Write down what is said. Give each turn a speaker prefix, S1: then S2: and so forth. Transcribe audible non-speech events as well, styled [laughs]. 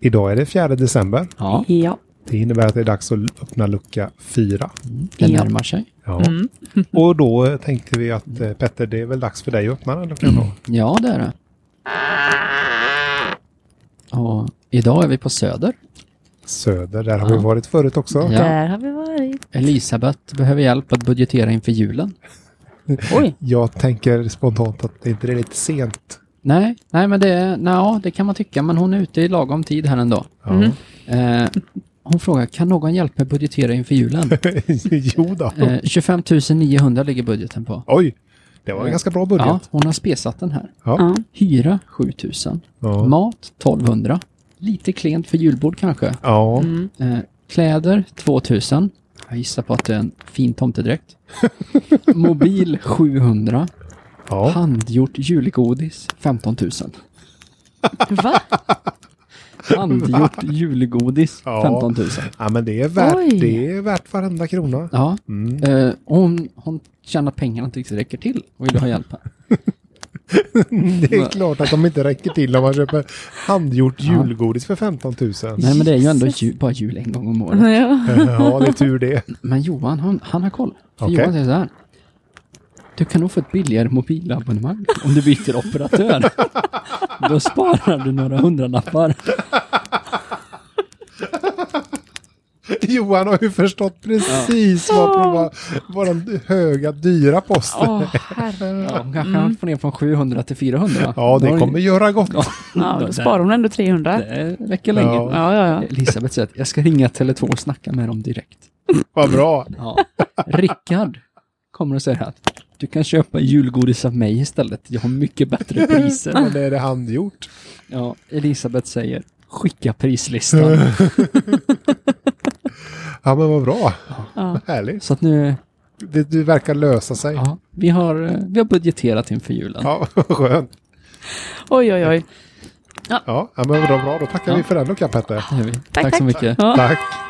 S1: Idag är det 4 december.
S2: Ja,
S3: Ja.
S1: Det innebär att det är dags att öppna lucka 4.
S2: det
S3: Ja.
S2: närmar sig.
S1: Ja.
S2: Mm.
S1: [laughs] Och då tänkte vi att eh, Petter, det är väl dags för dig att öppna den luckan då?
S2: Ja, det är det. Och idag är vi på Söder.
S1: Söder, där har vi
S2: Ja.
S1: varit förut också.
S2: Ja.
S3: Där har vi varit.
S2: Elisabeth behöver hjälp att budgetera inför julen.
S3: Oj,
S1: Jag tänker spontant att det inte är lite sent.
S2: Nej, nej men det, är- nja, det kan man tycka, men hon är ute i lagom tid här ändå.
S1: Ja.
S2: Eh, hon frågar, kan någon hjälpa mig budgetera inför [laughs] julen?
S1: [laughs] jo då.
S2: Eh, 25 900 ligger budgeten på.
S1: Oj, det var en ganska bra
S2: Ja,
S1: budget.
S2: hon har spesat den här.
S1: Ja.
S3: Ja.
S2: Hyra 7000.
S1: Ja.
S2: Mat 1200. Lite klent för julbord kanske.
S1: Ja.
S2: Eh, kläder 2000. Jag gissar på att det är en
S1: [laughs]
S2: fin tomtedräkt. Mobil 700.
S1: ja.
S2: Handgjort julgodis 15 000.
S3: va?
S1: [laughs]
S2: Handgjort julgodis
S1: Ja.
S2: 15 000.
S1: Ja, men det är värt,
S3: Oj.
S1: det är värt varenda krona.
S2: Ja.
S1: Mm.
S2: Eh, hon, hon känner att pengarna inte riktigt räcker till och vill ha hjälp
S1: [laughs]
S2: här. Mm.
S1: Det är klart att de inte räcker till om man köper handgjort julgodis för 15 000.
S2: Nej men det är ju ändå ju, bara jul en gång om året.
S3: [laughs] Ja.
S1: [laughs] Ja, det är tur det.
S2: Men Johan, han, han har koll. För
S1: Okej.
S2: Johan säger så här. Du kan nog få ett billigare mobilabonnemang om du
S1: [laughs]
S2: byter operatör. Då sparar du några hundralappar.
S1: [laughs] Johan har ju förstått precis vad, vad, vad den höga, dyra posten
S3: Åh, herregud.
S2: Ja, kanske han får ner från 700 till 400.
S1: Ja,
S2: Då har
S1: det
S2: du-
S1: kommer göra gott.
S3: Ja, då sparar hon ändå 300.
S2: Det räcker länge.
S1: Ja.
S3: Ja, ja, ja.
S2: Elisabeth säger att jag ska ringa Tele2 och snacka med dem direkt.
S1: Vad bra.
S2: Ja. Rickard kommer och säger att du kan köpa julgodis av mig istället. Jag har mycket bättre priser.
S1: Men det är det handgjort.
S2: Ja, Elisabeth säger
S1: [laughs]
S2: skicka prislistan.
S1: Ja, men vad bra.
S3: Ja.
S1: Härligt.
S2: Så att nu,
S1: Det, det verkar lösa sig. Ja,
S2: ja, vi har, eh, vi har budgeterat inför julen.
S1: [laughs] vad skönt.
S3: Oj, oj, oj.
S1: Ja, ja men vad bra. Då tackar
S2: Ja.
S1: vi för den luckan, Petter.
S2: Det gör vi. Tack,
S3: tack.
S2: så mycket.
S3: Ja.
S1: Tack.